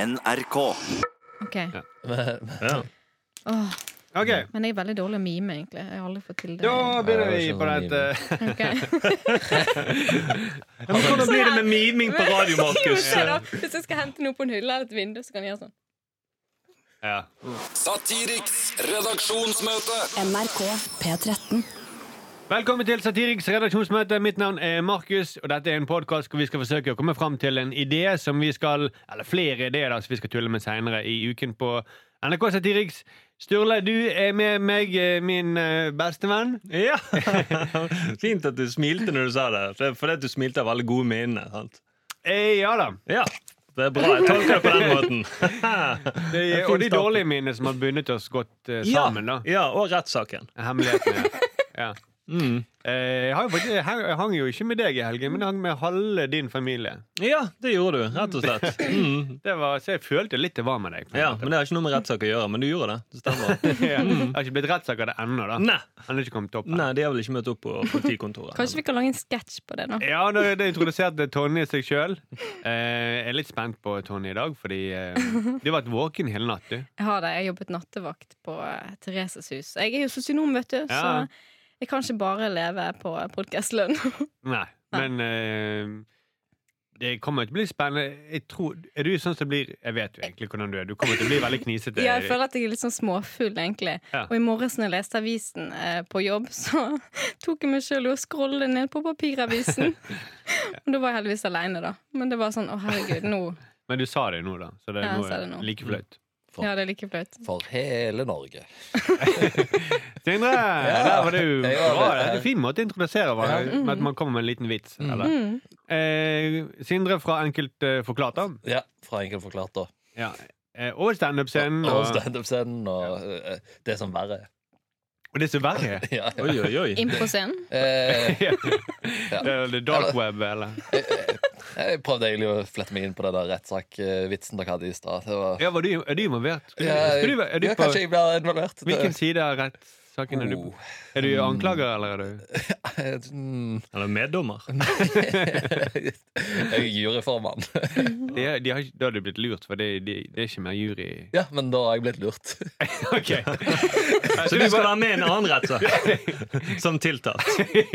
NRK. Ok. Ja. Åh, OK, men jeg er veldig dårlig å mime, egentlig. Jeg har aldri fått til det. da begynner vi på Ja, det var ikke dette. Ok. Ja, men hvordan blir det med miming på radio, Markus? Se da, Hvis jeg skal hente noe på en hylle eller et vindu, så kan jeg gjøre sånn. Ja. Satiriks redaksjonsmøte. NRK P13. Velkommen til Satiriks redaksjonsmøte. Mitt navn er Markus, og dette er en podkast hvor vi skal forsøke å komme fram til en idé som vi skal Eller flere ideer da, som vi skal tulle med seinere i uken på NRK Satiriks. Sturle, du er med meg, eh, min eh, bestevenn. ja. Fint at du smilte når du sa det, for- fordi at du smilte av alle gode minnene. sant? Eh, ja da. Ja, det er bra. Jeg tolker det på den måten. Det, Det er og fin de start. dårlige minnene som har bundet oss godt eh, Ja, sammen, da. ja og rettssaken. Hemmelighetene. Ja. Eh, jeg, har jo faktisk, jeg hang- jeg hang jo ikke med deg i helgen, men jeg hang med halve din familie. Ja, det gjorde du, rett og slett. Mm. Det var, så jeg følte litt det var med deg. på en Ja, måte. Men det har ikke noe med rettssak å gjøre, men du gjorde det. Det stemmer. Ja. Mm. Det har ikke blitt rettssak av det ennå, da. Nei, Han er ikke kommet opp. her. nei, de har vel ikke møtt opp på politikontoret. Kanskje vi kan lage en sketsj på det nå? Ja, da det introduserte Tonje seg sjøl. Eh, jeg er litt spent på Tonje i dag, fordi eh, du har vært våken hele natt, du. Jeg har det. Jeg jobbet nattevakt på eh, Thereses hus. Jeg er jo sosionom, vet du, Ja. så jeg kan ikke bare leve på eh, podkastlønn. Nei, men eh, det kommer til å bli spennende. Jeg tror, er du sånn som blir Jeg vet jo egentlig hvordan du er. Du kommer til å bli veldig knisete. Ja, jeg føler at jeg er litt sånn småfull, egentlig. Ja. Og i morges når jeg leste avisen eh, på jobb, så tok jeg meg sjøl i å scrolle ned på papiravisen. Og da var jeg heldigvis aleine, da. Men det var sånn å herregud, nå Men du sa det jo nå, da. Så det er Ja, jeg noe sa det nå. Mm. like flaut. Ja, det er like flaut. For hele Norge. Sindre, der var du jeg var bra. det. Det er en fin måte å introdusere hverandre med at man kommer med en liten vits. Mm. Eller? Eh, Sindre fra Enkelt eh, forklart, da. Ja, fra enkelt forklart, da. Ja. Eh, og standup-scenen. Og Og, standup-scenen og eh, det som verre er. og det som verre er. Ja, ja. Oi, oi, oi. Inn på scenen. Eh, Ja. Det er the dark web, eller? jeg prøvde egentlig å flette meg inn på den der rettssakvitsen dere hadde i stad. Det var- Ja, var du, er du involvert? Ja, Skal du, være- er du ja, på kanskje jeg blir involvert. hvilken side av rettssaken er du på? Oh. Er du Mm. anklager, eller er du Det- Mm, Eller meddommer. Jeg er juryformann. de, er- de har, ikke- Da har du blitt lurt, for det, de, det er ikke mer jury Ja, men da har jeg blitt lurt. Ok Så du skal være med i en annen rettssak som tiltalt?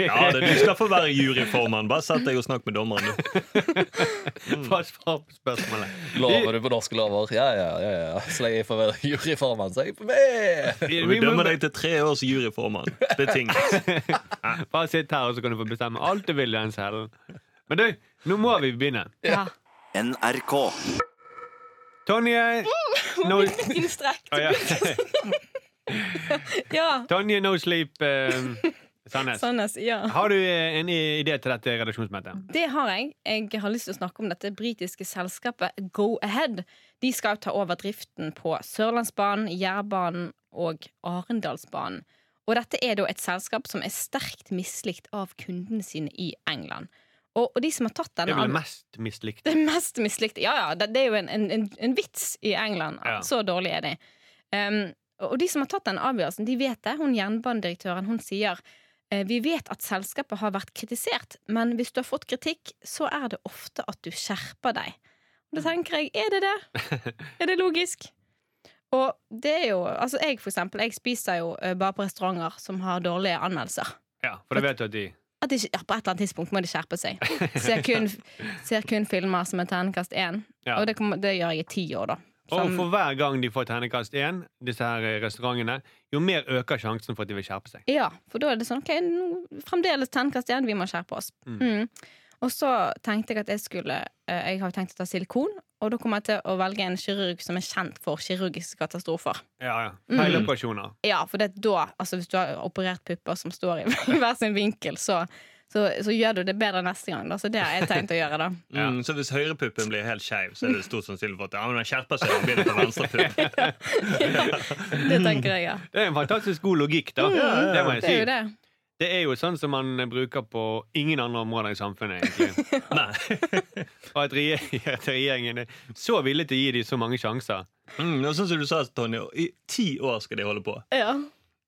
Ja, det, du skal få være juryformann. Bare sett deg og snakk med dommeren. du. Bare svar på spørsmålet. Lover du på norske lover? Ja, ja, ja. ja. Så lenge jeg får være juryformann, så er jeg med! Vi, Og vi vi må dømmer deg til tre års juryformann. Betinget. bare sitte her, og så kan du få bestemme alt du vil i den cellen. Men du, nå må vi begynne. Ja. NRK. Tonje no, Innstrekt. Å, ja. Ja. Tonje No Sleep eh, Sandnes. Sandnes. Ja. Har du eh, en i- idé til dette redaksjonsmøtet? Det har jeg. Jeg har lyst til å snakke om dette britiske selskapet Go Ahead. De skal jo ta over driften på Sørlandsbanen, Jærbanen og Arendalsbanen. Og dette er da et selskap som er sterkt mislikt av kundene sine i England. Og, og de som har tatt Det denne er vel det mest mislikte. det mest mislikte Ja, ja, det, det er jo en, en, en, en vits i England. at Ja. Så dårlig er de. Um, og de som har tatt den avgjørelsen, de vet det. Hun jernbanedirektøren hun sier eh, vi vet at selskapet har vært kritisert, men hvis du har fått kritikk, så er det ofte at du skjerper deg. Og da tenker jeg, er det det? Er det logisk? Og det er jo, altså jeg for eksempel, jeg spiser jo eh, bare på restauranter som har dårlige anmeldelser Ja, for det vet du at de at det, ikke- ja, på et eller annet tidspunkt må de skjerpe seg. Ser kun, ser kun filmer som er terningkast én. Ja. Og det, kommer, det gjør jeg i ti år, da. Sånn- Og Som- for hver gang de får ternekast én, disse her eh, restaurantene, jo mer øker sjansen for at de vil skjerpe seg. Ja, for da er det sånn OK, nå, fremdeles terningkast én, vi må skjerpe oss. Mm. Mm. Og så tenkte jeg at jeg skulle eh, Jeg har jo tenkt å ta silikon, og da kommer jeg til å velge en kirurg som er kjent for kirurgiske katastrofer. Ja, ja. Feiloperasjoner. Ja, for det er da, altså hvis du har operert pupper som står i hver sin vinkel, så, så, så gjør du det bedre neste gang. Da. Så det har jeg tenkt å gjøre, da. Mm, så hvis høyrepuppen blir helt skeiv, så er det stor sannsynlighet for at ja, men den skjerper seg og begynner på venstrepuppen. Det tenker jeg, ja. Det er en fantastisk god logikk, Mm. da. Det må jeg Det er jo si. det. Det er jo sånn som man bruker på ingen andre områder i samfunnet, egentlig. Nei. Og at, regje- at regjeringen er så villig til å gi dem så mange sjanser. Mm, og sånn som du sa, Tonje, i ti år skal de holde på. Ja.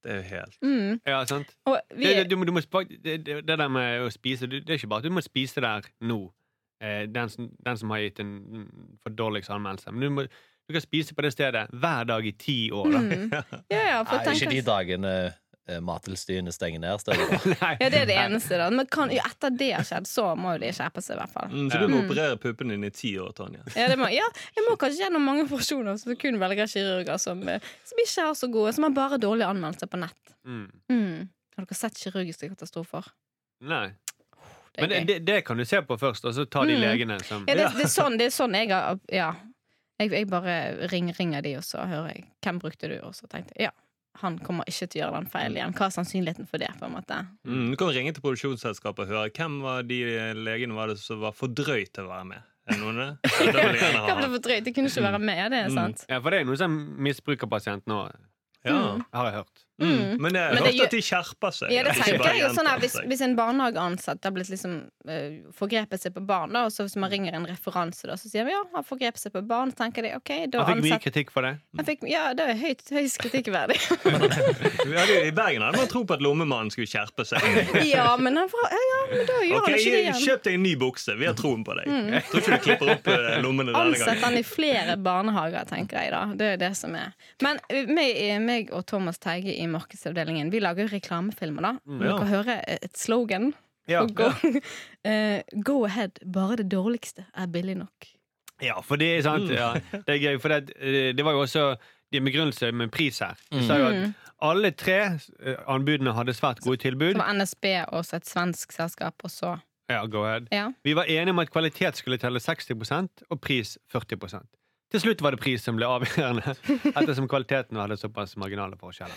Det er jo helt Mm. Ja, sant? Og vi Det, det, du, må- du må, spa- det, det det der med å spise, du- det er ikke bare at du må spise der nå. Eh, eh, den, som, den som har gitt en mm, for dårligst anmeldelse. Men du, må, du kan spise på det stedet hver dag i ti år. Da. Mm. Ja, ja, for Nei, tenk ikke de oss- dagene eh, Mattilsynet stenger ned steder. Nei. Ja, det er det eneste, da. Men kan, jo, etter det har skjedd, så må jo de skjerpe seg, i hvert fall. Mm, så du må operere puppen din i ti år, Tonje. Ja, det må, ja, jeg må kanskje gjennom mange operasjoner som kun velger kirurger som, eh, som ikke er så gode, som har bare dårlige anmeldelser på nett. Mm. Mm. Har dere sett kirurgiske katastrofer? Nei. Det Men er gøy. det, det kan du se på først, og så ta de Mm. legene som Ja, det, det, er sånn, det er sånn jeg har Ja. Jeg, jeg bare ring, ringer de, og så hører jeg 'Hvem brukte du?' Og så tenkte jeg ja, han kommer ikke til å gjøre den feilen igjen. Hva er sannsynligheten for det? på en måte? Mm, du kan ringe til produksjonsselskapet og høre hvem var de legene var det som var for drøy til å være med. Er det noen det? Ja, det vil jeg gjerne Hva ble ha. for drøyt? Jeg kunne ikke være med, det er Mm. sant. Ja, for det er noe som misbrukerpasient nå, Ja. har jeg hørt. Mm. Men det er Men det hørt gjør- at de skjerper seg. Ja, det at de ikke tenker bare jeg altså. jo sånn her, gjentar hvis, seg. hvis en barnehageansatt har blitt liksom eh, forgrepet seg på barn, da, og så hvis man ringer en referanse, da, så sier vi ja, han forgrep seg på barn, så tenker de OK, da Han fikk mye ansatt kritikk for det. han fikk, Ja, det er høyt, høyst kritikkverdig. Vi hadde jo I Bergen hadde man tro på at lommemannen skulle skjerpe seg. ja, men han får, ja, ja, men da gjør Ok, han ikke det igjen. Mm. Kjøp deg en ny bukse. Vi har troen på deg. Jeg tror ikke du klipper opp eh, lommene denne Ansett gangen. han i flere barnehager, tenker jeg da. Det er det som er. Men eh, meg, meg og Thomas Teige i markedsavdelingen Vi lager jo reklamefilmer, da. Om Ja. Dere hører eh, et slogan. Ja. Og go, eh, go ahead. Bare det dårligste er billig nok. Ja, for det er sant. Ja, det er gøy, for det, eh, det var jo også de med begrunnelse med pris her. De sa jo Mm. at alle tre eh, anbudene hadde svært gode tilbud. Det var NSB og så et svensk selskap, og så Ja, go ahead. Ja. Vi var enige om at kvalitet skulle telle 60 og pris 40 Til slutt var det pris som ble avgjørende, ettersom kvaliteten hadde såpass marginale forskjeller.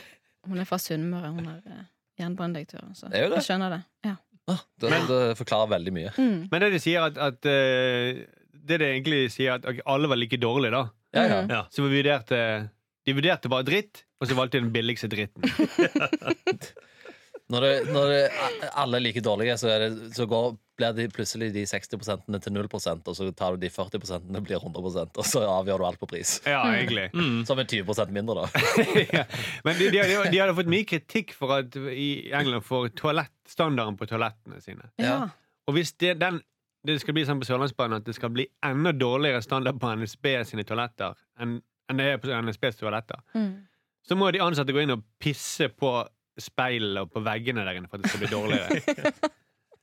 Hun er fra Sunnmøre, hun er eh, jernbanedirektøren, så Er jo det. jeg skjønner det. Ja. Ah, Det, det forklarer veldig mye. Mm. Men det de sier at, at eh, Det de egentlig sier, at ok, alle var like dårlige, da. Ja, ja. Mm. Mm. Ja. Så vi vurderte de vurderte bare dritt, og så valgte de den billigste dritten. Når, det, når det, a- alle er like dårlige, så, er det, så går, blir de plutselig de 60 til 0 og så tar du de 40 og blir 100 og så avgjør du alt på pris. Ja, egentlig. Mm. Som er 20 mindre, da. ja. Men de, de, de, de hadde fått mye kritikk for at i England for toalett, standarden på toalettene sine. ja. Og hvis det, den, det skal bli sånn på Sørlandsbanen at det skal bli enda dårligere standard på NSB sine toaletter enn, enn det er på NSBs toaletter, Mm. så må de ansatte gå inn og pisse på speilene og på veggene der inne for at det skal bli dårligere.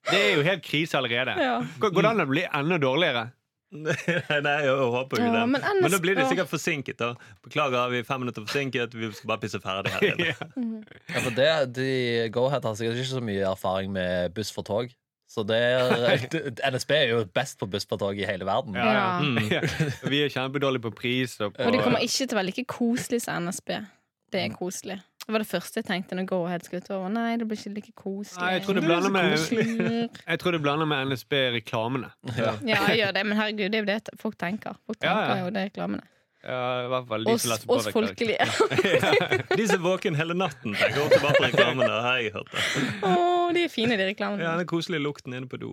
Det er jo helt krise allerede. Ja. Går går det an å bli enda dårligere? Nei, jeg håper jo Ja, det. men Men, ellers- da blir de ja. sikkert forsinket. da Beklager, vi er fem minutter forsinket. Vi skal bare pisse ferdig her. inne. Ja, for det, de Go-Head har sikkert ikke så mye erfaring med buss for tog. Så det er, NSB er jo best på buss for tog i hele verden. Ja, ja. Ja. Vi er kjempedårlige på pris. Og, på, Og det kommer ikke til å være like koselig som NSB. Det er koselig. Det var det første jeg tenkte når Go-Ahead skulle ta over. Nei, det blir ikke like koselig. Nei, jeg tror det blander med, jeg tror det blander med NSB-reklamene. Ja, jeg gjør det, men herregud, det er jo det folk tenker. Folk Ja, tenker ja. jo det i reklamene. Ja, i hvert fall de Oss, som laster på oss vekk- folkelige. De som er våken hele natten, tenker ofte bare på reklamen. der, har jeg hørt det. Å, de er fine, de reklamene. Ja, Den koselige lukten inne på do.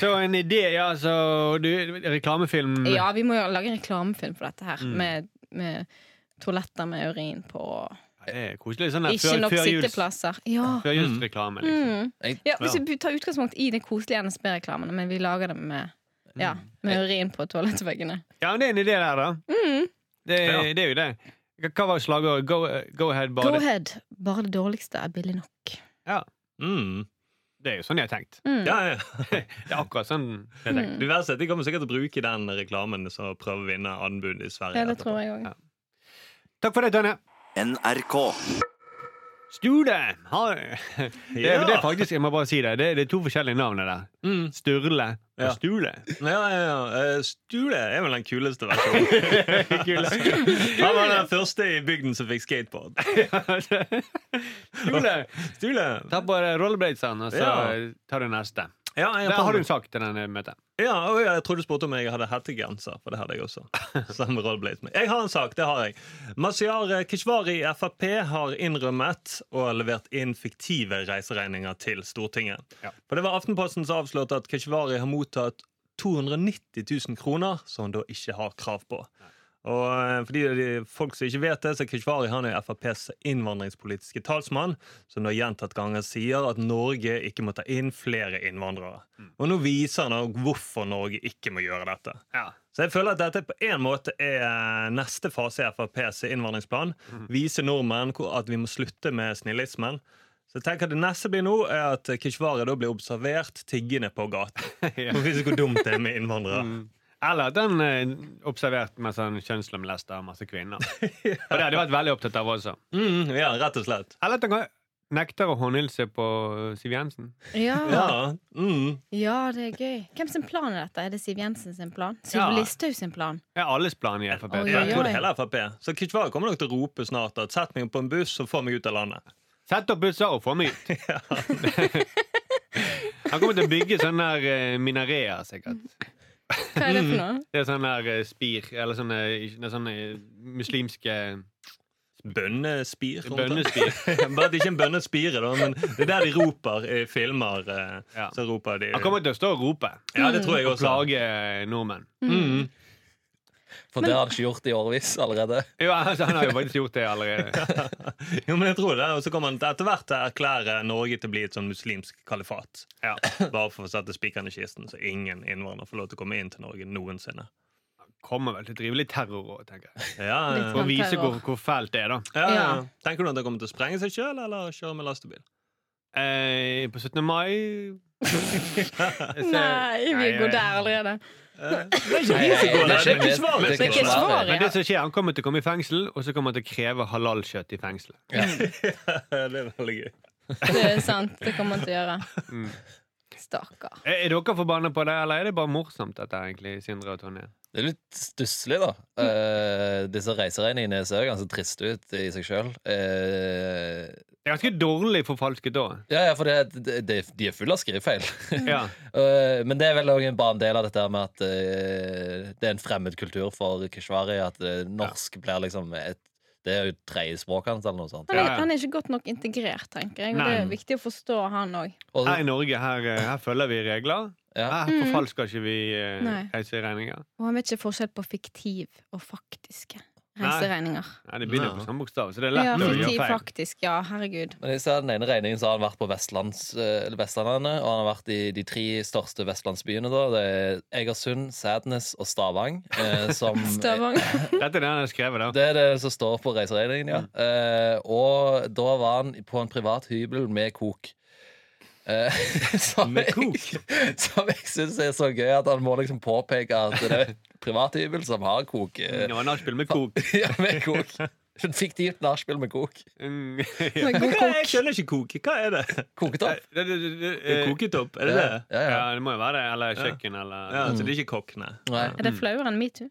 Så en idé, ja, så du, Reklamefilm Ja, vi må jo lage en reklamefilm for dette Mm. her. Med, med toaletter med urin på. og det er koselig. Sånn der Ikke før- nok Mm. førjuls- sitteplasser. Ja. Mm. førjulsreklame. Liksom. ja, Hvis vi tar utgangspunkt i den koselige NSB-reklamen, men vi lager det med, Mm. ja, med urin på toalettveggene. Ja, det er en idé der, da. Mm. Det, Ja. det er jo det. Hva- Hva var slagordet? Go, go ahead, Go bare det. ahead. Bare det dårligste er billig nok. Ja, Mm. det er jo sånn jeg har tenkt. Mm. Ja, ja. Det er akkurat sånn jeg har tenkt. Det verste er at De kommer sikkert til å bruke den reklamen som prøver å vinne anbud i Sverige. Ja, det etterpå. tror jeg òg. Takk for det, Tonje. NRK. Sturle! har- Det, er- Ja. det er faktisk, jeg må bare si det, det, er- det er to forskjellige navn det der. Mm. Sturle og Ja. Stule. Ja, ja, ja. Eh, Stule er vel den kuleste versjonen. Han var den første i bygden som fikk skateboard. Stule! Stule! Ta på deg rollerbladesene, og så Ja. tar du neste. Ja, jeg, Der har du en sak til denne møtet. ja, å, ja, jeg trodde du spurte om jeg hadde hettegenser, for det hadde jeg også. Samme rolleblades med. Jeg har en sak, det har jeg. Masiar Keshvari i Frp har innrømmet og levert inn fiktive reiseregninger til Stortinget. Ja. For det var Aftenposten som avslørte at Keshvari har mottatt 290 000 kroner, som han da ikke har krav på. Og eh, for de, de folk som ikke vet det, så Keshvari han er FrPs innvandringspolitiske talsmann, som da gjentatt ganger sier at Norge ikke må ta inn flere innvandrere. Og nå viser han også hvorfor Norge ikke må gjøre dette. Ja. Så jeg føler at dette på en måte er eh, neste fase i FrPs innvandringsplan. Vise nordmenn hvor- at vi må slutte med snillismen. Så jeg tenker at Det neste blir nå er at Keshvari da blir observert tiggende på gaten. Ja. Mm. Hvor Hvis hvor dumt det er med innvandrere. Eller at han eh, observert mens han kjønnslemlesta masse kvinner. Og det hadde jeg vært veldig opptatt av også. Mm, ja, rett og slett. Eller at han kan- nekter å håndhilse på eh, Siv Jensen. Ja, Ja, mm. ja, det er gøy. Hvem sin plan er dette? Er det Siv Jensen sin plan? Siv Ja. Listhaug sin plan? Det er alles plan i Frp. Oi, Ja, Jeg tror oi. det er hele FRP. Så Keshvari kommer nok til å rope snart at sett meg på en buss og få meg ut av landet. Sett opp busser og få meg ut. Mm. Han kommer til å bygge sånne der eh, minareer, sikkert. Hva er det for noe? Det er sånne der eh, spir, eller sånne, det er sånne eh, muslimske Bønnespir. bønnespir. Bare at det ikke er en bønnespire, da, men det er der de roper i filmer. eh, Ja. Så roper de Han kommer til å stå og rope Ja, det tror jeg og også. plage eh, nordmenn. Mm. For det har han ikke gjort i årevis allerede. Jo, altså, han har jo faktisk gjort det allerede. Jo, men jeg tror det. Og så kommer han til etter hvert til å erklære Norge til å bli et sånn muslimsk kalifat. Ja. Bare for å sette spikeren i kisten, så ingen innvandrere får lov til å komme inn til Norge noensinne. Kommer vel til å drive litt terror òg, tenker jeg. Ja, Litt sånn For ja, å vise hvor, hvor fælt det er, da. ja. Ja. Tenker du at han kommer til å sprenge seg sjøl, eller kjøre med lastebil? Eh, på 17. mai Jeg ser- Nei, vi Nei, går jeg- der allerede. Nei, nei, det er ikke- Det er ikke svaret. det er Det er ikke svaret, svaret. Men det som skjer, han kommer til å komme i fengsel, og så kommer han til å kreve halalkjøtt i fengselet. det er veldig gøy. Det er sant. Det kommer han til å gjøre. Mm. Stakkar. Er, er dere forbanna på det, eller er det bare morsomt, dette, egentlig, Sindre og Tonje? Det er litt stusslig, da. Eh, disse reiseregningene ser jo ganske triste ut i seg sjøl. Det er ganske dårlig forfalsket da. ja, ja, for det, det, det, de er fulle av skrivefeil. Ja. Eh, men det er vel også en- bare en del av dette her med at eh, det er en fremmed kultur for Keshvari. At eh, norsk blir liksom et Det er jo tredjespråket hans, eller noe sånt. Han Ja, er, ja. han er ikke godt nok integrert, tenker jeg. Og det Nei. er viktig å forstå han òg. Og, Her i Norge her, eh, her følger vi regler. ja. Her forfalsker ikke vi eh, Mm. Nei. reiseregninger. Og han vet ikke forskjell på fiktiv og faktiske reiseregninger. Nei, det begynner Ja. på samme bokstav, så det er lett Ja, å gjøre fiktiv, feil. faktisk. Ja, herregud. Men jeg ser Den ene regningen så har han vært på Vestlands, eh, eller Vestlandet, og han har vært i de tre største vestlandsbyene. da Det er Egersund, Sadness og Stavang. eh, som, Stavanger. Dette er det han har skrevet, da. Det er det som står på reiseregningen, ja. Eh, og da var han på en privat hybel med kok. Eh, som Med kok? Jeg, som jeg syns er så gøy at han må liksom påpeke at det er privat hybel som har kok. eh, Nå er nachspiel med kok. ja, med kok. Fiktivt nachspiel med kok. Mm, ja. Med god Hva, jeg kokk. skjønner ikke koke. Hva er det? Koket opp. Det- det- det- det- Det er eh, koket opp, er det det? Ja, ja, ja. Ja, det må jo være det. Eller kjøkken, Ja, eller Så det er ikke kokkene? Nei. Er det flauere enn metoo?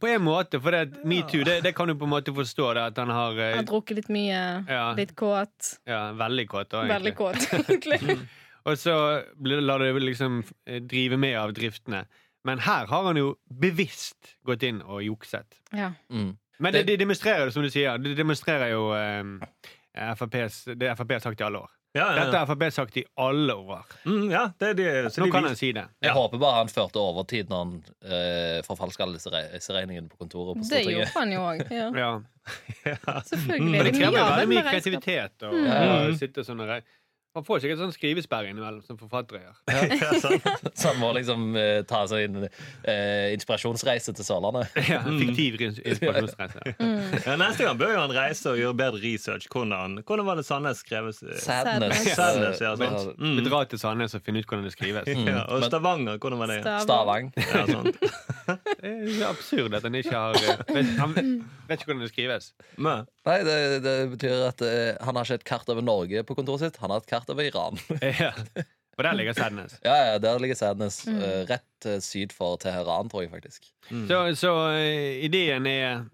På en måte, for det at metoo, det, det kan du på en måte forstå, det at han har eh, Har drukket litt mye, Ja. litt kåt. ja, veldig kåt. da, egentlig. Mm. Veldig kåt, egentlig. Og så blir- lar du liksom eh, drive med av driftene. Men her har han jo bevisst gått inn og jukset. Ja. Mm. Men det, det demonstrerer jo, som du sier, det demonstrerer jo eh, FrPs, det Frp har sagt i alle år. Ja, ja, Dette ja. har Frp sagt i alle år. Mm, ja det er de, så Nå de kan vis- han si det. Jeg håper bare han førte overtid når han eh, forfalska alle disse re- reiseregningene på kontoret på Det gjorde Stortinget. han jo òg. Ja. Ja. Mm. Selvfølgelig. Men Men det er krever jo av det veldig mye med regnskap. kreativitet. Og, Mm. og sitte sånn og rei- Man får sikkert sånn skrivesperre innimellom, som forfattere gjør. ja, sånn. sant. Så han må liksom eh, ta seg en eh, inspirasjonsreise til Sørlandet. Ja, fiktiv ins- inspirasjonsreise. Ja, neste gang bør jo han reise og gjøre bedre research. Hvordan, hvordan var det Sandnes skreves? Sadness. Sadness. Eh, Sadness, ja, sant. Vi drar til Sandnes og finner ut hvordan det skrives. Ja, mm, og Stavanger, hvordan var det? Stav- Stavang. Ja, sånn. sant. Det er jo absurd at han ikke har eh, vet, Han vet ikke hvordan det skrives. Men, Nei, det, det betyr at eh, han har ikke et kart over Norge på kontoret sitt, han har et kart over Iran. Ja. Og der ligger Sadness. ja, ja, Der ligger Sadness. eh, rett eh, syd for Teheran, tror jeg faktisk. Så, så eh, ideen er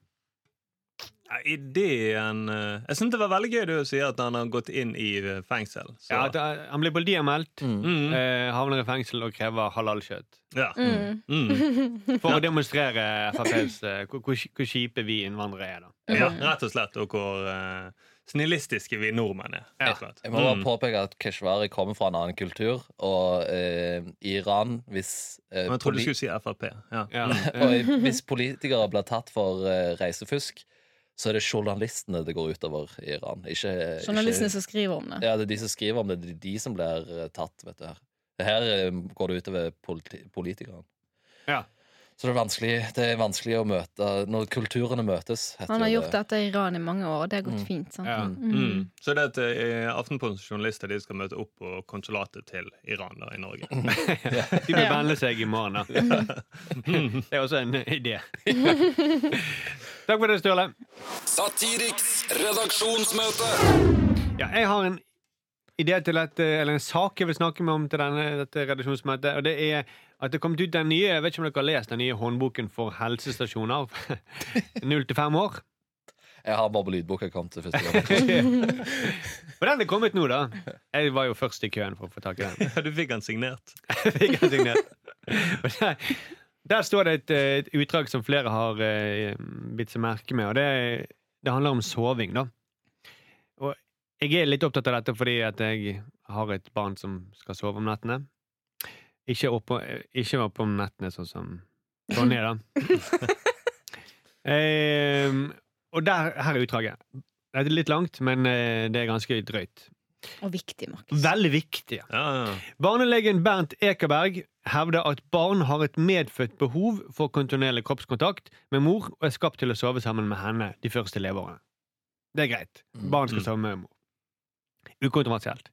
ja, ideen eh, Jeg syns det var veldig gøy du sier at han har gått inn i eh, fengsel. Så. ja, at eh, han blir politianmeldt, Mm, eh, havner i fengsel og krever halalkjøtt. ja. Mm. For å demonstrere FrPs eh, hvor, hvor, hvor kjipe vi innvandrere er, da. ja, rett og slett. Og hvor eh, snillistiske vi nordmenn er. Ja. helt klart. Jeg må bare Mm. påpeke at Keshvari kommer fra en annen kultur, og eh, Iran hvis, eh, Men jeg trodde du poli- skulle si Frp. Ja. Ja. Eh, og i- hvis politikere blir tatt for eh, reisefusk, så er det journalistene det går utover i Iran. Ikke, eh, Journalistene ikke, som skriver om det. ja, det er de som skriver om det, det er de som blir eh, tatt. vet du her. Her eh, går det utover politi politikerne. Ja. Så det er, vanskelig, det er vanskelig å møte Når kulturene møtes, heter Han har jo gjort dette i Iran i mange år, og det har gått Mm. fint. sant? Ja. Mm. Så det at eh, Aftenpostens journalister de skal møte opp på konsulatet til Iran da, i Norge. De bør vende seg i morgen, da. Det er også en idé. Takk for det, Sturle. Satiriks redaksjonsmøte. Ja, jeg har en idé til et, eller en sak jeg vil snakke med om til denne, dette redaksjonsmøtet. Og det er at det er kommet ut den nye jeg vet ikke om dere har lest den nye håndboken for helsestasjoner. 0 til 5 år. Jeg har bare på lydboka kommet til første gang. Og den er kommet nå, da. Jeg var jo først i køen for å få tak i den. Du fikk han signert. Jeg fikk den signert. Og der, der står det et, eh, et utdrag som flere har eh, bitt seg merke med, og det, det handler om soving, da. Og jeg er litt opptatt av dette fordi at jeg har et barn som skal sove om nettene. Ikke oppe, ikke oppe om nettene, sånn som sånn er, da. Ehm, og der, her er utdraget. Det er litt langt, men eh, det er ganske drøyt. Og viktig, Markus. Veldig viktig. ja. Ja, ja. Barnelegen Bernt Ekeberg hevder at barn har et medfødt behov for kontinuerlig kroppskontakt med mor og er skapt til å sove sammen med henne de første leveårene. Det er greit. Barn skal Mm. sove med mor. Ukontroversielt.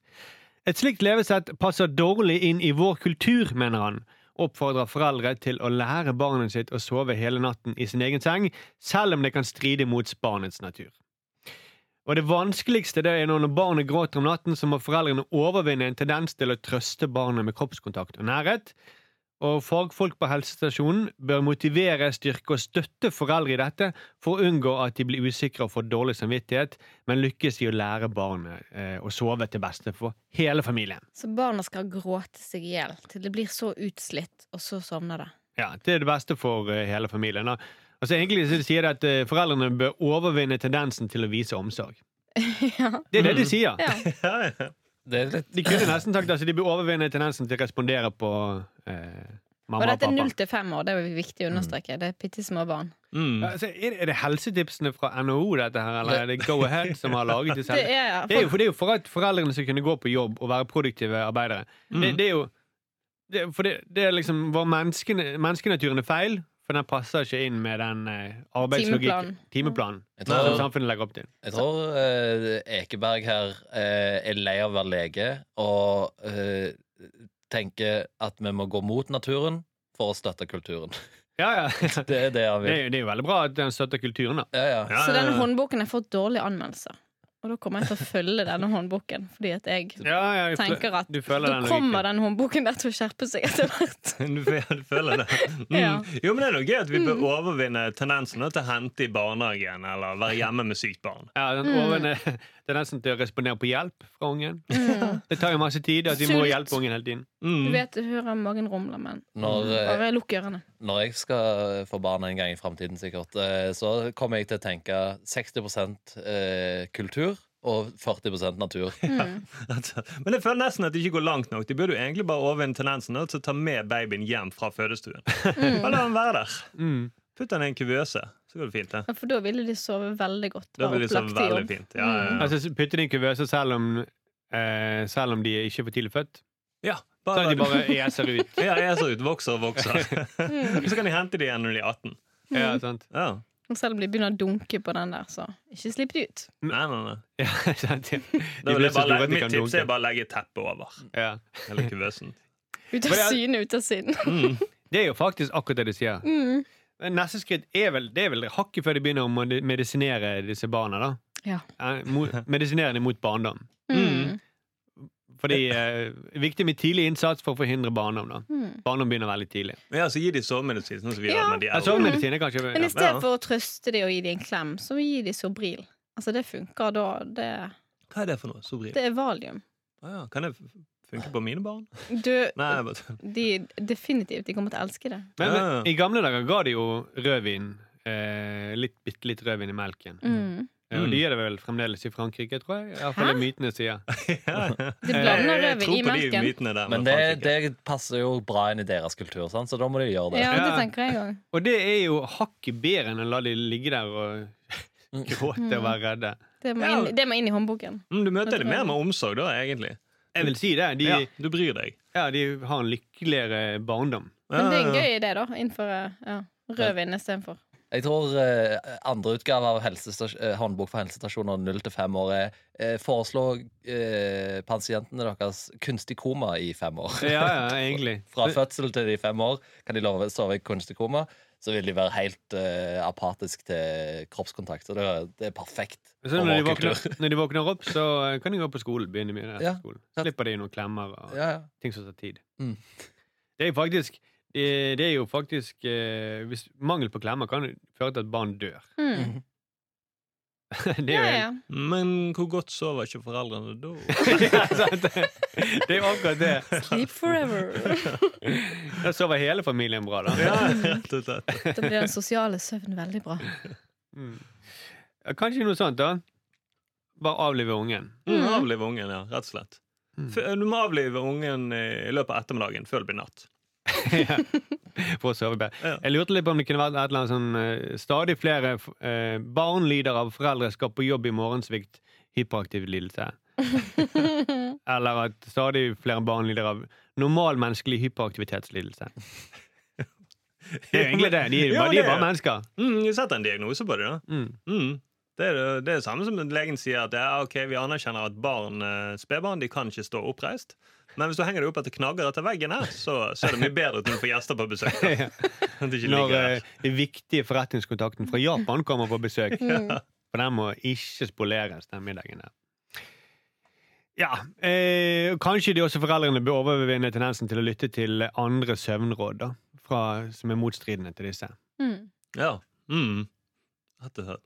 Et slikt levesett passer dårlig inn i vår kultur, mener han. Oppfordrer foreldre til å lære barnet sitt å sove hele natten i sin egen seng, selv om det kan stride mot barnets natur. Og det vanskeligste det er når barnet gråter om natten, så må foreldrene overvinne en tendens til å trøste barnet med kroppskontakt og nærhet. Og fagfolk på helsestasjonen bør motivere, styrke og støtte foreldre i dette for å unngå at de blir usikre og får dårlig samvittighet, men lykkes i å lære barnet eh, å sove til beste for hele familien. Så barna skal gråte seg i hjel til det blir så utslitt, og så sovner det. Ja, Det er det beste for eh, hele familien. da. Altså Egentlig så sier det at eh, foreldrene bør overvinne tendensen til å vise omsorg. Ja. Det er det de sier. Ja. Ja, ja. Det er litt De kunne nesten sagt altså, de bør overvinne tendensen til å respondere på eh, Og mamma og dette er pappa. null til fem år, det er viktig å understreke. Det er bitte små barn. Mm. Ja, altså, er, det- er det helsetipsene fra NHO, dette her, eller er det Go Ahead som har laget disse? Det helse- er, Det er jo, for det er jo for at foreldrene skal kunne gå på jobb og være produktive arbeidere. Mm. Mm. Det, det er jo det, For det, det er liksom Vår menneskene, menneskenaturen er feil, for den passer ikke inn med den eh, arbeidslogikken. Timeplanen. Timeplanen. Jeg Som tror, samfunnet legger opp til. jeg tror eh, Ekeberg her eh, er lei av å være lege og eh, tenker at vi må gå mot naturen for å støtte kulturen. Ja, ja. Det er det han Det vil. er, jo- det er jo veldig bra at den støtter kulturen, da. Ja, ja. Ja, Så ja, denne ja. håndboken har fått dårlige anmeldelser. Og da kommer jeg til å følge denne håndboken, fordi at jeg Ja, ja, jeg fø- tenker at du føler da den kommer logikken. den håndboken der til å skjerpe seg etter hvert. Du, fø- du føler det? Mm. Ja. Jo, men Det er noe gøy at vi bør overvinne tendensen da, til å hente i barnehagen eller være hjemme med sykt barn. Ja, den Mm. overne, tendensen til å respondere på hjelp fra ungen. Det tar jo masse tid at vi må Sult. hjelpe ungen hele tiden. Mm. Du Mm. vet du hører magen rumle, men Mm. Når, eh, bare lukk ørene. når jeg skal eh, få barn en gang i framtiden, sikkert, eh, så kommer jeg til å tenke 60 eh, kultur og 40 natur. Mm. Altså, Men jeg føler nesten at det ikke går langt nok. De burde jo egentlig bare overvinne tendensen da, til å ta med babyen hjem fra fødestuen. Bare la han være der. Mm. Putt han i en kuvøse, så går det fint. det. Ja, For da ville de sove veldig godt. Da være blir det så opplagt i veldig jobb. fint. Ja, ja, ja. Altså, s- putte det i en kuvøse selv om, eh, selv om de er ikke er for tidlig født. ja Sånn at bare, de bare eser ut. ja, jeg ser ut, vokser og vokser. Mm. Så kan de hente de igjen når de er 18. Ja, sant? Ja. Og selv om de begynner å dunke på den der, så ikke slipp de ut. Nei, nei, nei. Ja, sant? Mm. De, Da vil blir jeg så bare, store legge- at de mitt kan Mm. tips er dunke. bare å legge teppet over. Ja. Eller kuvøsen. Mm. Ut av Men jeg- syne, ut av sinn. Det er jo faktisk akkurat det de sier. Mm, Men Neste skritt er vel, det er vel hakket før de begynner å modi- medisinere disse barna. da. Ja. Eh, mo- Medisinere dem mot barndom. Mm. Fordi eh, Viktig med tidlig innsats for å forhindre barndom. da. mm. Barndom begynner veldig tidlig. Ja, så gi de sovemedisin, sånn som vi Ja. gjør med de Ja, eldre. Sovemedisin er kanskje Men ja. i stedet for å trøste de og gi de en klem, så gi de Sobril. Altså, det funker da. Det, Hva er det for noe? Sobril? det er valium. Ah, ja. Kan det f- funke på mine barn? Du, Nei, jeg bare de, definitivt, de kommer til å elske det. Men, Ja, ja. men i gamle dager ga de jo rødvin. Eh, litt, bitte litt rødvin i melken. Mm. Og de er det vel fremdeles i Frankrike, tror jeg. Iallfall Hæ? mytene sier. De blander Eh, Jeg rødvin tror i på de melken. mytene der. Men med det, Frankrike. det passer jo bra inn i deres kultur, sant? så da må de gjøre det. Ja, det Ja. tenker jeg òg. Og det er jo hakket bedre enn å la de ligge der og gråte og være redde. Det, må Ja. inn- det må inn i håndboken. Mm, du møter det mer med omsorg, da, egentlig. Jeg vil si det. De, Ja, ja. du bryr deg. de har en lykkeligere barndom. Men det er en Ja, ja, ja. gøy idé, da. Innføre ja, rødvin istedenfor. Jeg tror eh, andre utgave av helsestas- eh, Håndbok for helsestasjoner 0 til 5 år er eh, foreslå eh, pasientene deres kunstig koma i fem år. Ja, ja, egentlig. Fra fødsel til de er fem år kan de love, sove i kunstig koma. Så vil de være helt eh, apatisk til kroppskontakt. Så det, er- det er perfekt. Så for når, de vår kultur. våkner, når de våkner opp, så kan de gå på skolen. begynne med det Ja. etter skolen. Slipper de noen klemmer og Ja, ja. ting som tar tid. Mm. Det er jo faktisk, det, det er jo faktisk eh, hvis, Mangel på klemmer kan jo føre til at barn dør. Mm. det Ja, er jo ja. Men hvor godt sover ikke foreldrene da? Ja, sant. det er jo akkurat det. Sleep forever. Da sover hele familien bra, da. Ja, rett og slett. Da blir den sosiale søvnen veldig bra. Mm. Kanskje noe sånt, da. Bare avlive ungen. Mm. Mm, avlive ungen, ja. Rett og slett. F du må avlive ungen i løpet av ettermiddagen før det blir natt. For å sove bedre. Ja. Jeg lurte litt på om det kunne vært et eller annet sånn eh, Stadig flere f- eh, barn lider av foreldre skal på jobb i morgensvikt, hyperaktiv lidelse. eller at stadig flere barn lider av normalmenneskelig hyperaktivitetslidelse. Det er jo egentlig det. De er jo Ja, bare, de det er er det. bare mennesker. Mm, jeg setter en diagnose på det, da. Mm. Mm. Det er det, det er det samme som legen sier at ja, ok, vi anerkjenner at barn, eh, spedbarn de kan ikke stå oppreist. Men hvis du henger deg opp etter knagger etter veggen, her, så ser det mye bedre ut når du får gjester på besøk. da. At det ikke Når ligger der. eh, den viktige forretningskontakten fra Japan kommer på besøk. For Mm. den må ikke spoleres, den middagen der. Ja, eh, Kanskje de også foreldrene bør overvinne tendensen til å lytte til andre søvnråd da, fra, som er motstridende til disse. Mm. Ja. Mm. Rett og slett.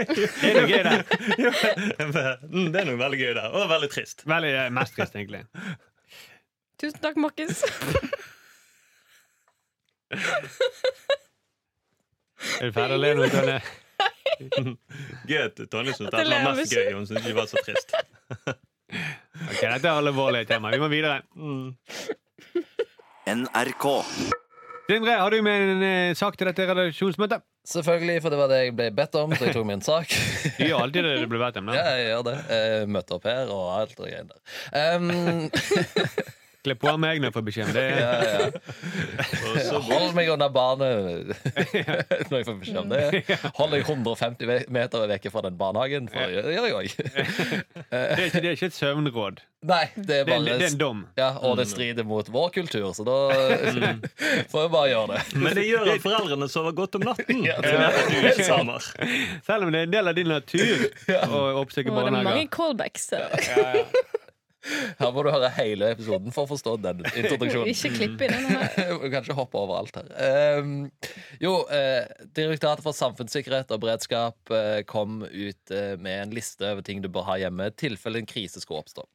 Det er noe gøy, det. Ja, mm, det er noe veldig gøy der, og veldig trist. Veldig eh, mest trist, egentlig. Tusen takk, Markus. Er du ferdig å le nå, Tønne? Gøy at Tonje syntes Dette det var ler mest jeg gøy. Hun syntes ikke det var så trist. Ok, dette er alvorlige tema. Vi må videre. NRK. Sindre, har du med en eh, sak til dette redaksjonsmøtet? Selvfølgelig, for det var det jeg ble bedt om, så jeg tok min sak. Du gjør alltid det det blir bedt om. Ja, da. jeg gjør det. Eh, Møtte opp her og alt og greiene der. Um, Kle på meg når jeg får beskjed om det. ja, ja. Og så Hold meg under barnet når jeg får beskjed om det. Hold deg 150 ve- meter vekk fra den barnehagen, for det gjør jeg òg. Det er ikke, det er ikke et søvnråd. Nei, det er Det er, det er en bare dom. ja, Og det strider mot vår kultur, så da får jeg bare gjøre det. Men det gjør at foreldrene sover godt om natten. Ja, det Det vet du ikke, Samar. Selv om det er en del av din natur å oppsøke Og det er mange barnehager. callbacks. eh. Her må du høre hele episoden for å forstå den introduksjonen. Ikke klipp inn den her. Vi kan ikke hoppe over alt her. Ehm, jo, eh, Direktoratet for samfunnssikkerhet og beredskap eh, kom ut eh, med en liste over ting du bør ha hjemme i tilfelle en krise skulle oppstå.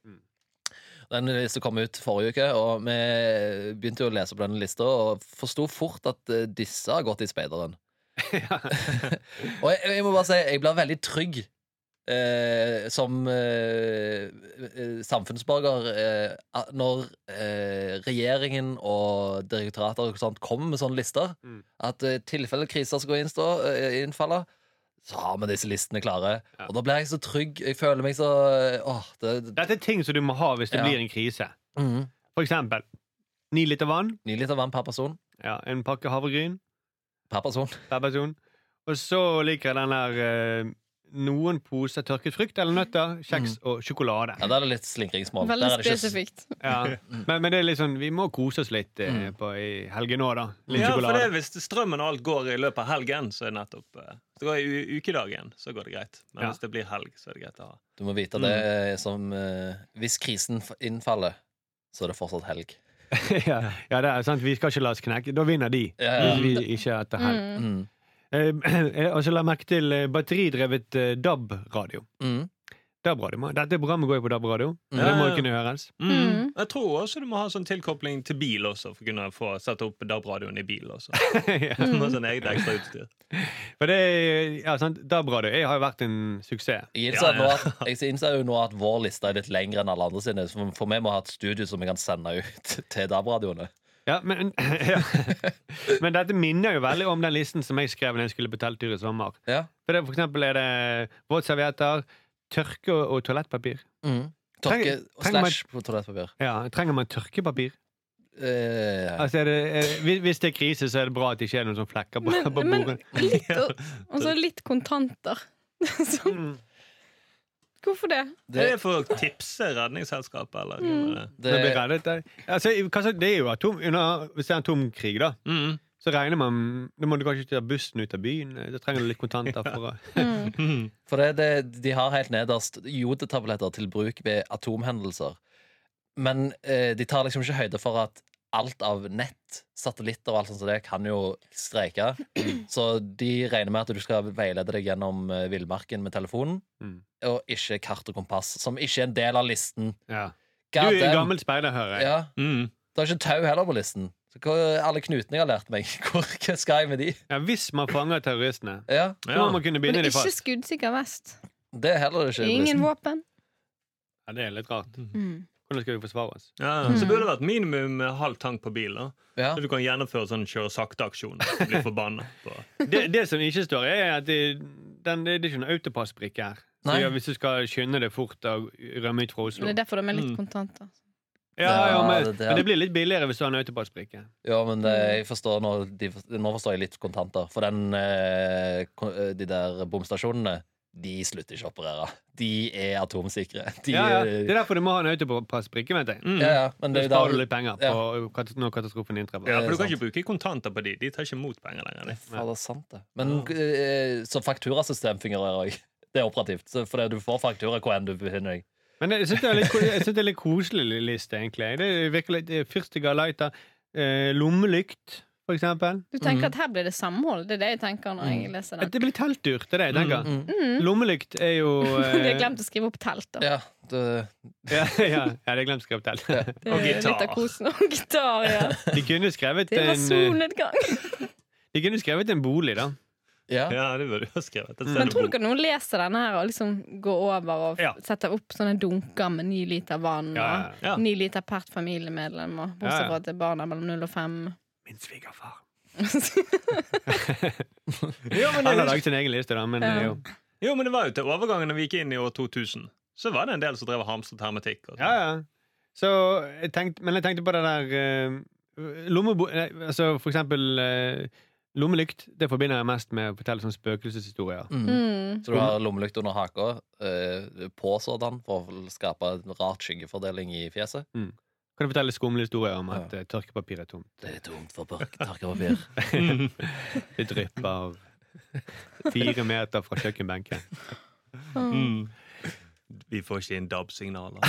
Den lista kom ut forrige uke, og vi begynte jo å lese opp denne lista og forsto fort at eh, disse har gått i speideren. og jeg, jeg må bare si, jeg blir veldig trygg eh, som eh, eh, samfunnsborger eh, at når eh, regjeringen og direktorater og sånt kommer med sånne lister. Mm. At i tilfelle kriser skal innstå, eh, innfalle, så har vi disse listene klare. Ja. Og da blir jeg så trygg. Jeg føler meg så eh, Åh, det, Dette er ting som du må ha hvis det Ja. blir en krise. mm. For eksempel ni liter vann, Ni liter vann per person. ja, en pakke havregryn Per person. per person, og så liker jeg den der eh, noen poser tørket frukt eller nøtter, kjeks og sjokolade. Ja, Da er det litt slingringsmål. Veldig Der er det ikke s- spesifikt. Ja. Men, men det er litt sånn, vi må kose oss litt eh, på, i helgen nå, da. Litt Ja, for det, sjokolade. er hvis strømmen og alt går i løpet av helgen, så er det nettopp eh, Hvis det går i u- ukedagen, så går det greit. Men Ja. hvis det blir helg, så er det greit å ha. Du må vite det eh, som eh, Hvis krisen f- innfaller, så er det fortsatt helg. ja, ja, det er sant. Vi skal ikke la oss knekke. Da vinner de. Ja, ja. Hvis vi ikke etter helg. Mm. Eh, og så la jeg merke til eh, batteridrevet eh, DAB-radio. Mm. DAB-radio. Dette programmet går jo på DAB-radio. Mm. Det må Ja, ja. jo kunne høres. Mm. Jeg tror også du må ha sånn tilkopling til bil også, for å kunne få sette opp DAB-radioen i bil også. Ja. Med sånn eget ekstra utstyr. For det er- ja, sant, DAB-radio jeg har jo vært en suksess. Jeg innser, Ja, ja. Nå at, jeg innser jo nå at vår liste er litt lengre enn alle andre sine. For, for vi må ha et studio som vi kan sende ut til DAB-radioene. Ja, men, ja. men dette minner jo veldig om den listen som jeg skrev når jeg skulle på telttur i sommer. Ja. For, det, for eksempel er det våtservietter, tørke og, og toalettpapir. Mm. Tørke Trenger- og trenger man- slash på toalettpapir. Ja, Trenger man tørkepapir? Eh, Altså er det, er, hvis- hvis det er krise, så er det bra at det ikke er noen sånne flekker på, Men- på men- bordet. Litt, og, og så litt kontanter. Så, Mm. hvorfor det? Det det, er for å tipse Redningsselskapet, eller? hva det, Nå blir jeg reddet der. Altså, hva så- det er jo atom, under, hvis det er atomkrig, da, det er. så regner man Da må du kanskje ta bussen ut av byen. eh, Da trenger du litt kontanter for å Mm. for det, det, de har helt nederst jodetabletter til bruk ved atomhendelser. Men eh, de tar liksom ikke høyde for at alt av nett, satellitter og alt sånt som det, kan jo streike. Så de regner med at du skal veilede deg gjennom eh, villmarken med telefonen. Mm. Og ikke kart og kompass, som ikke er en del av listen. ja. Du God er en damn. gammel speider, hører jeg. Ja, Mm. Det er ikke tau heller på listen. Så hva, alle knutene jeg har lært meg, hvor, hva skal jeg med de? Ja, hvis man fanger terroristene, Ja, så må Ja. man kunne Men binde det er dem ikke fast. skuddsikker vest. Det er heller ikke på Ingen listen. våpen. Ja, det er litt rart. Mm. Hvordan skal vi forsvare oss? Ja, Så burde det vært minimum eh, halv tank på bil. da Ja. Så du kan gjennomføre sånn kjøre sakte-aksjon. Bli forbanna. på- Det, det som ikke står, er at det, den, det er ikke noen autopassbrikke her. Så Nei. ja, hvis du skal skynde deg fort og rømme ut fra Men Oslo. det er derfor de er litt Mm. kontanter. Ja, ja, Ja, men, det- det- men det blir litt billigere hvis du har en autopassbrikke. Ja, men eh, jeg forstår nå, de, nå forstår jeg litt kontanter. For den, eh, kon- eh, de der bomstasjonene, de slutter ikke å operere. De er atomsikre. De, eh, Ja, ja. Det er derfor du må ha en autopassbrikke, vet jeg. Mm. ja, Ja, ja, men Da det er jo sparer du der litt penger ja. på kat- når katastrofen inntreffer. for du sant. kan ikke bruke kontanter på de. De tar ikke imot penger lenger. de. Ja, det er sant, det. Men eh, så fakturasystem fungerer òg. Det er operativt. så- For det, du får faktura hvor enn du befinner deg. Men jeg syns det, er litt ko- jeg synes det er litt koselig liste, egentlig. Det virker litt eh, Fyrstikka, lighter, eh, lommelykt, for eksempel. Du tenker at her blir det samhold. Det er det jeg tenker når Mm. jeg leser den. Det blir telttur, det er det jeg tenker. Mm. Lommelykt er jo eh, De har glemt å skrive opp telt. Da. Ja, det, ja, ja, ja, det er glemt skrevet telt. Det Og er litt gitar. av kosen. Og gitar, ja. De kunne skrevet Det var en, eh, solnedgang. de kunne skrevet en bolig, da. ja. Ja, det burde du ha skrevet. Et sted Mm. Men å tror bo. dere noen leser denne her og liksom går over og Ja. setter opp sånne dunker med ni liter vann? Ja, ja, og ja. Ja. Ni liter per familiemedlem, og Ja, bortsett ja. fra at det er barna mellom null og fem. Min svigerfar. Mm. Jo, men Han har det, laget sin egen liste, da. Men, eh, jo. jo, men det var jo til overgangen da vi gikk inn i år 2000. Så var det en del som drev og hamstret hermetikk. Og sånn. Ja, ja. Så jeg tenkte, men jeg tenkte på det der eh, lommebo... Nei, altså for eksempel eh, lommelykt. Det forbinder jeg mest med å fortelle sånne spøkelseshistorier. Mm. Mm. Så du har lommelykt under haka, eh, på sådan, for å skape en rart skyggefordeling i fjeset. Kan du fortelle skumle historier om at eh, tørkepapir er tomt? Det er tomt for pørk- tørkepapir. Det drypper fire meter fra kjøkkenbenken. Mm. Vi får ikke inn DAB-signaler.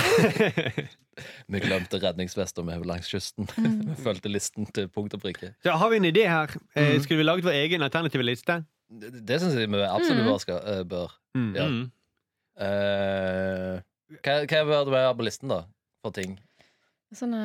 Vi glemte redningsvest og vi var langs kysten. Vi fulgte listen til punkt og prikke. Så har vi en idé her. Eh, skulle vi laget vår egen alternative liste? Det, det syns jeg vi absolutt bør. Skal, eh, bør. Mm. Ja. Mm. Eh, hva, hva bør det være på listen, da? For ting. Sånne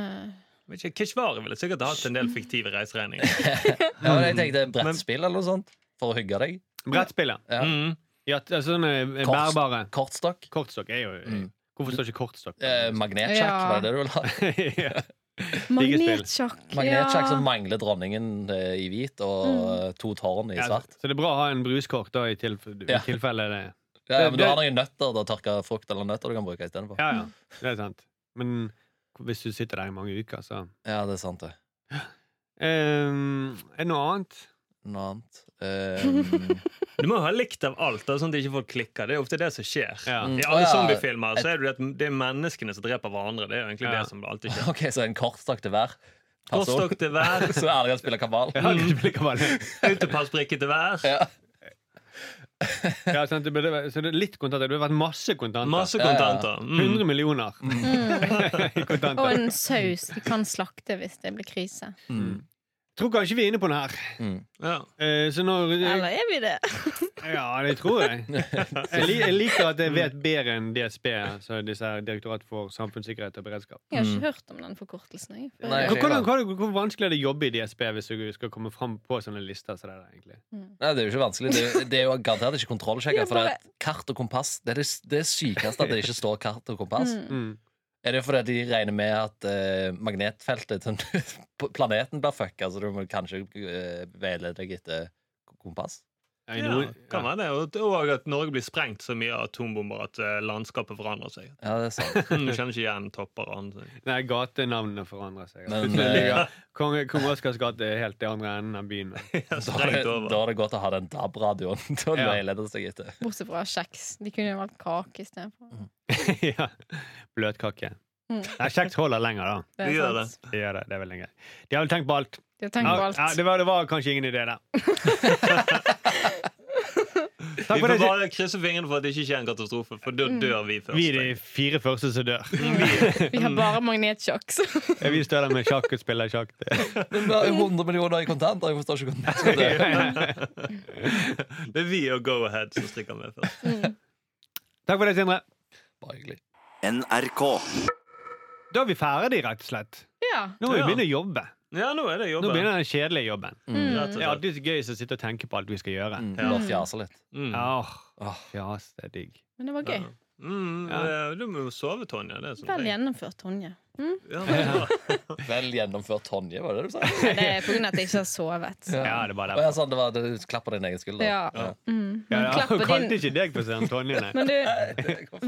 Vet ikke, Keshvari ville sikkert hatt en del fiktive reiseregninger. Ja, Mm. men jeg tenkte brettspill eller noe sånt. For å hygge deg. Brettspillet. Ja. Mm. Ja, t- altså sånne eh, Korts- bærbare. Kortstokk. Kortstokk er jo eh, Mm. Hvorfor står ikke kortstokk? på Eh, den magnetsjakk, Ja. var det det du ville ha? listen? ja. Magnetsjakk. Magnetsjakk som ja. mangler dronningen eh, i hvit og eh, to tårn i Ja, svart. Så det er bra å ha en bruskort da, i, tilf Ja. i tilfelle det Ja, ja, men du Det- har noen nøtter, da tørka frukt eller nøtter du kan bruke istedenfor. Ja, ja, det er sant. Men hvis du sitter der i mange uker, så Ja, det er sant, det. Ehm, Er det noe annet? Noe annet. Ehm, Du må jo ha likt av alt, da, sånn at ikke folk klikker. Det er ofte det som skjer. Ja. I alle Ja. zombiefilmer så er det, jo at det er menneskene som dreper hverandre. Det er jo egentlig Ja. det som alltid skjer. ok, så en kortstokk til hver person. Kortstokk til hver, Så alle kan spille kabal. Ja, det blir ikke vanlig. autopassbrikke til hver. Ja. ja, sant, det burde, væ- så det er litt kontanter. Det burde vært masse kontanter. Masse kontanter. Mm. 100 millioner Og i Mm. kontanter. Mm. en saus de kan slakte hvis det blir krise. Tror kanskje vi er inne på den her. Ja. Eh, Så når Eller er vi det? Ja, det tror jeg. Jeg, li jeg liker at jeg vet bedre enn DSB, altså disse her Direktorat for samfunnssikkerhet og beredskap. Jeg har Mm. ikke hørt om den forkortelsen. Jeg. Før. Nei. Hvor, hvordan- hvor, hvor vanskelig er det å jobbe i DSB hvis du skal komme fram på sånne lister? som det der, egentlig? Nei, det er jo ikke vanskelig. Det er, det er jo garantert ikke kontrollsjekka. Ja, For det bare- er kart og kompass Det er det, det sykeste at det ikke står kart og kompass. Mm. Mm. Er det fordi de regner med at eh, magnetfeltet til planeten blir fucka, så du må kanskje eh, veilede deg etter kompass? Ja, i Ja, noen- kan være ja. det. Og- Og at Norge blir sprengt så mye av atombomber at eh, landskapet forandrer seg. Ja, det er sant. Mm, Du kjenner ikke igjen topper og annet. Nei, gatenavnene forandrer seg. Men, Plutselig eh, ligger Kong, Kong Oscars gate er helt i andre enden av byen. Ja, Da er, det, Sprengt da over. er det godt å ha den DAB-radioen til å Ja. veilede seg etter. Bortsett fra kjeks. De kunne jo valgt kake istedenfor. Mm. ja. Bløtkake. Mm. Nei, kjekt holder lenger, da. Det De er gjør sant. Det gjør det, det er vel lenger. De har vel tenkt på alt. De har tenkt på Ja, ja, alt. det, var, det var kanskje ingen idé der. Vi Takk får for det. bare krysse fingrene for at det ikke skjer en katastrofe, for da dør vi først. Vi er de fire første som dør. Mm. Vi har bare magnetsjokk. så- Vi står der med sjakk og spiller sjakk. Men vi har jo 100 millioner i kontanter. Jeg forstår ikke hvordan det skal dø. Det er vi og Go-Ahead som strikker med først. Takk for det, Sindre. Bare hyggelig. NRK. Da er vi ferdige, rett og slett. Ja. Nå må vi Ja. Mm. begynne å jobbe. Ja, nå er det Nå jobben. begynner den kjedelige jobben. Rett og Det er slett. alltid så gøy å sitte og tenke på alt vi skal gjøre. Mm, Bare fjase litt. Mm. Åh, Åh. fjas, det er digg. Men det var gøy. Mm, Ja. eh, Du må jo sove, Tonje. Det er sånn Vel ting. gjennomført, Tonje. Mm. Ja, men bra. Vel gjennomført Tonje, var det det du sa? Nei, Det er på grunn av at jeg ikke har sovet. Ja, det var Å, det. ja, sånn, det var, du klapp på din egen skulder. Ja. Mm. Ja, Men ja. klapp Hun på kalte din ikke deg for Søren Tonje, nei. Men du,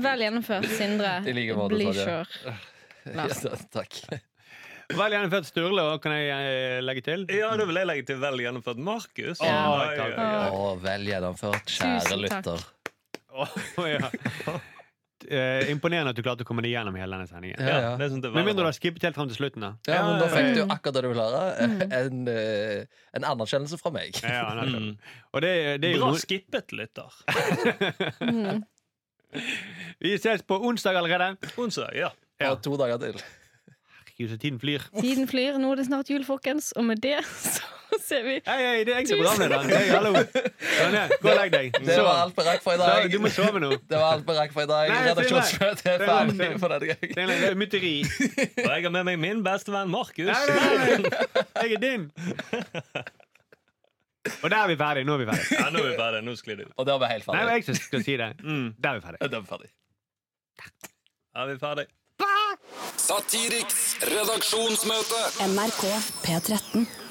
vel gjennomført, Sindre. I like måte, Tonje. Bleacher. Ja, da, takk. Vel gjennomført Sturle, og kan jeg eh, legge til? ja, da vil jeg legge til vel gjennomført Markus. Ja. Oi, oi, takk. oi. Å, vel gjennomført, kjære Tusen takk. lytter. Åh, ja. Eh, imponerende at du klarte å komme deg gjennom hele denne sendingen. Ja, Ja, ja. det er sånn det var. Med mindre du har skippet helt fram til slutten, da. Ja, men Ja, Da ja, fikk eh, du akkurat det du ville høre. Mm. En, eh, en anerkjennelse fra meg. Ja, ja, nettopp. Mm. og det, det er jo Bra noe- skippet, lytter. Mm. Vi ses på onsdag allerede. Onsdag, ja. Ja. Mm. Og to dager til. Herregud, så tiden flyr. Tiden flyr, nå er det snart jul, folkens. Og med det så ser vi Hei, hei, det er jeg som er Tusen programlederen. Hei, hallo. Tonje, gå og legg deg. Det Sov. var alt vi rakk for i Sov, dag. Du må sove nå. Det var alt vi rakk for i dag. Nei, det er Redaksjonsmøtet er det er ferdig det. for denne Det gang. er en mytteri. Og jeg har med meg min bestevenn Markus. Nei, nei, nei, nei. Jeg er din. Og der er vi ferdig. Nå er vi ferdig. Ja, nå er vi ferdig. Nå sklir det ut. Og der var vi Nei, helt ferdig. det var jeg som skal si det. Der er vi ferdig. Ja, Der var vi ferdig. Er vi ferdig? Satiriks redaksjonsmøte. NRK P13.